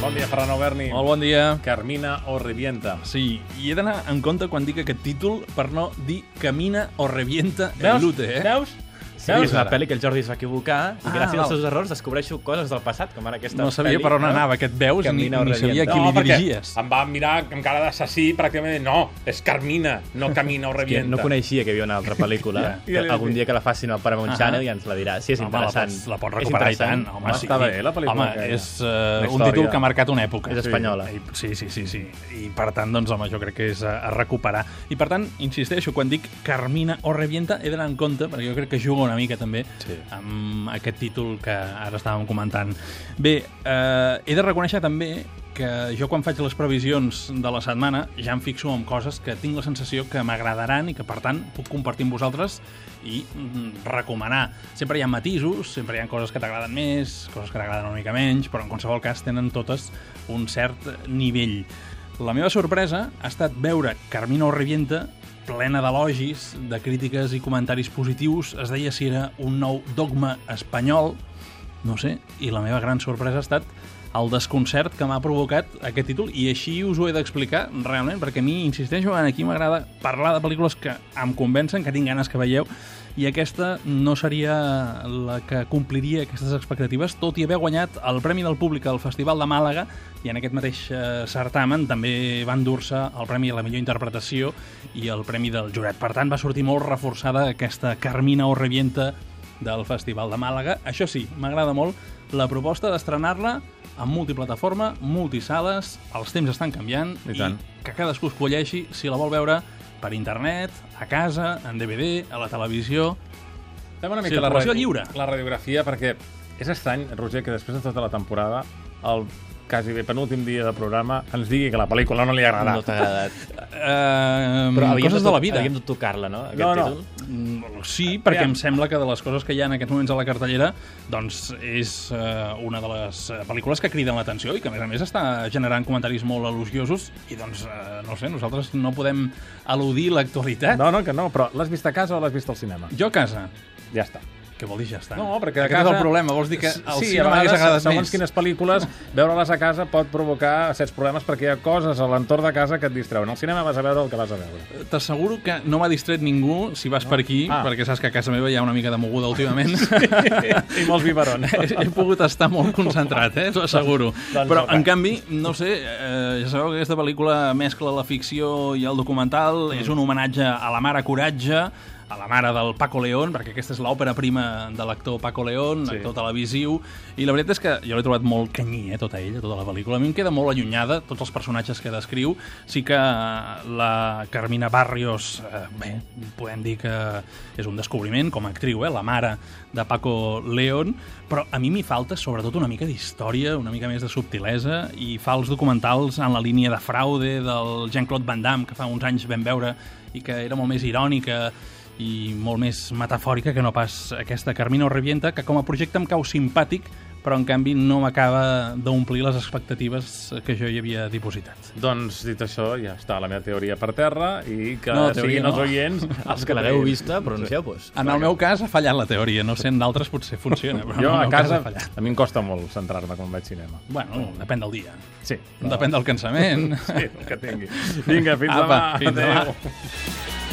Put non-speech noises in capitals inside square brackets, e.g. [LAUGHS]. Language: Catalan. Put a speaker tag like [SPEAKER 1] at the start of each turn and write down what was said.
[SPEAKER 1] Bon dia, Ferran Alberni.
[SPEAKER 2] Molt bon dia.
[SPEAKER 1] Carmina o revienta.
[SPEAKER 2] Sí, i he d'anar en compte quan dic aquest títol per no dir Camina o revienta el lute, eh?
[SPEAKER 1] Veus?
[SPEAKER 3] Sí, és una pel·li que el Jordi es va equivocar i gràcies als seus errors descobreixo coses del passat, com ara aquesta
[SPEAKER 2] Ah, No sabia
[SPEAKER 3] pel·li,
[SPEAKER 2] per on
[SPEAKER 3] no?
[SPEAKER 2] anava aquest veus, ni,
[SPEAKER 3] Camina o
[SPEAKER 2] ni sabia a
[SPEAKER 3] revienta.
[SPEAKER 2] qui
[SPEAKER 1] no,
[SPEAKER 2] li
[SPEAKER 1] perquè
[SPEAKER 2] dirigies.
[SPEAKER 1] em va mirar amb cara d'assassí, pràcticament. No, és Carmina, no
[SPEAKER 3] [LAUGHS]
[SPEAKER 1] Camina o
[SPEAKER 3] Que
[SPEAKER 1] revienta.
[SPEAKER 3] no coneixia que hi havia una altra pel·lícula.
[SPEAKER 2] [LAUGHS] Ja.
[SPEAKER 3] Que Algun dia que la facin al Paramount
[SPEAKER 2] Ahà.
[SPEAKER 3] Channel ja ens la dirà. Sí, és
[SPEAKER 2] Home, la
[SPEAKER 3] interessant.
[SPEAKER 2] pots, la pots
[SPEAKER 3] És
[SPEAKER 2] recuperar i tant.
[SPEAKER 3] interessant.
[SPEAKER 2] Home, sí.
[SPEAKER 1] estava bé, la pel·lícula
[SPEAKER 2] Home,
[SPEAKER 1] aquella.
[SPEAKER 2] és uh, un
[SPEAKER 3] història.
[SPEAKER 2] títol que ha marcat una època.
[SPEAKER 3] És espanyola.
[SPEAKER 2] I- Sí, sí, sí, sí. I per tant, doncs, home, jo crec que és a, a recuperar. I per tant, insisteixo, quan dic Carmina o Revienta, he d'anar en compte, perquè jo crec que juga una mica també
[SPEAKER 1] Sí.
[SPEAKER 2] amb aquest títol que ara estàvem comentant. Bé, eh, he de reconèixer també que jo quan faig les previsions de la setmana ja em fixo en coses que tinc la sensació que m'agradaran i que per tant puc compartir amb vosaltres i mm, recomanar. Sempre hi ha matisos, sempre hi ha coses que t'agraden més, coses que t'agraden una mica menys, però en qualsevol cas tenen totes un cert nivell. La meva sorpresa ha estat veure Carmina Orrivienta plena d'elogis, de crítiques i comentaris positius. Es deia si era un nou dogma espanyol, no ho sé, i la meva gran sorpresa ha estat el desconcert que m'ha provocat aquest títol i així us ho he d'explicar realment perquè a mi, insisteixo, en aquí m'agrada parlar de pel·lícules que em convencen, que tinc ganes que veieu i aquesta no seria la que compliria aquestes expectatives, tot i haver guanyat el Premi del Públic al Festival de Màlaga i en aquest mateix eh, certamen també va endur-se el Premi a la millor interpretació i el Premi del Jurat. Per tant, va sortir molt reforçada aquesta Carmina o Revienta del Festival de Màlaga. Això sí, m'agrada molt la proposta d'estrenar-la en multiplataforma, multisales, els temps estan canviant
[SPEAKER 1] I tant.
[SPEAKER 2] que cadascú escolleixi si la vol veure per internet, a casa, en DVD, a la televisió...
[SPEAKER 1] Fem una mica
[SPEAKER 2] Circulació
[SPEAKER 1] la radi-
[SPEAKER 2] lliure.
[SPEAKER 1] La radiografia, perquè és estrany, Roger, que després de tota la temporada, el quasi bé penúltim dia del programa, ens digui que la pel·lícula no li ha agradat.
[SPEAKER 3] No t'ha agradat.
[SPEAKER 2] Eh,
[SPEAKER 3] havíem
[SPEAKER 2] coses
[SPEAKER 3] to-
[SPEAKER 2] de la vida.
[SPEAKER 3] Havíem de tocar-la, no? Aquest
[SPEAKER 1] No, no.
[SPEAKER 3] títol.
[SPEAKER 2] Mm, Sí, perquè em sembla que de les coses que hi ha en aquests moments a la cartellera doncs és eh, una de les eh, pel·lícules que criden l'atenció i que a més a més està generant comentaris molt elogiosos i doncs, eh, no ho sé, nosaltres no podem eludir l'actualitat.
[SPEAKER 1] no, no, que no, però l'has vist a casa o l'has vist al cinema?
[SPEAKER 2] Jo a casa.
[SPEAKER 1] Ja està.
[SPEAKER 2] Què vol dir ja està?
[SPEAKER 1] No, perquè a
[SPEAKER 2] Aquest
[SPEAKER 1] casa...
[SPEAKER 2] és el problema, vols dir que al
[SPEAKER 1] sí,
[SPEAKER 2] cinema
[SPEAKER 1] a
[SPEAKER 2] hagués
[SPEAKER 1] vegades,
[SPEAKER 2] agradat
[SPEAKER 1] segons
[SPEAKER 2] més?
[SPEAKER 1] quines pel·lícules, veure-les a casa pot provocar certs problemes perquè hi ha coses a l'entorn de casa que et distreuen. Al cinema vas a veure el que vas a veure.
[SPEAKER 2] T'asseguro que no m'ha distret ningú si vas no? per aquí,
[SPEAKER 1] Ah.
[SPEAKER 2] ah. perquè saps que a casa meva hi ha una mica de moguda últimament.
[SPEAKER 1] I molts biberons.
[SPEAKER 2] eh, he, he pogut estar molt concentrat, eh? t'ho asseguro.
[SPEAKER 1] doncs
[SPEAKER 2] Però,
[SPEAKER 1] no cal.
[SPEAKER 2] en canvi, no ho sé, eh, ja sabeu que aquesta pel·lícula mescla la ficció i el documental,
[SPEAKER 1] Mm.
[SPEAKER 2] és un homenatge a la mare Coratge, a la mare del Paco León, perquè aquesta és l'òpera prima de l'actor Paco León, sí. actor televisiu, i la veritat és que jo l'he trobat molt canyí, eh, tota ella, tota la pel·lícula. A mi em queda molt allunyada, tots els personatges que descriu. Sí que eh, la Carmina Barrios, eh, bé, podem dir que és un descobriment com a actriu, eh, la mare de Paco León, però a mi m'hi falta sobretot una mica d'història, una mica més de subtilesa, i fa els documentals en la línia de fraude del Jean-Claude Van Damme, que fa uns anys vam veure i que era molt més irònica i molt més metafòrica que no pas aquesta Carmina Revienta, que com a projecte em cau simpàtic, però en canvi no m'acaba d'omplir les expectatives que jo hi havia dipositat.
[SPEAKER 1] Doncs, dit això, ja està la meva teoria per terra i que
[SPEAKER 2] No, teoria
[SPEAKER 1] siguin
[SPEAKER 2] no.
[SPEAKER 1] els oients els
[SPEAKER 3] Els que
[SPEAKER 1] que
[SPEAKER 3] l'heu
[SPEAKER 1] treguin.
[SPEAKER 3] vista, pronuncieu-vos.
[SPEAKER 2] En el meu cas ha fallat la teoria, no sé, en d'altres potser funciona, però
[SPEAKER 1] Jo
[SPEAKER 2] en el
[SPEAKER 1] a
[SPEAKER 2] meu
[SPEAKER 1] casa,
[SPEAKER 2] cas ha fallat.
[SPEAKER 1] a mi em costa molt centrar-me quan vaig cinema.
[SPEAKER 2] Bueno, depèn del dia,
[SPEAKER 1] Sí.
[SPEAKER 2] depèn del cansament.
[SPEAKER 1] Sí, el que tingui. Vinga, fins
[SPEAKER 2] Apa,
[SPEAKER 1] demà.
[SPEAKER 2] fins demà.
[SPEAKER 1] Adéu.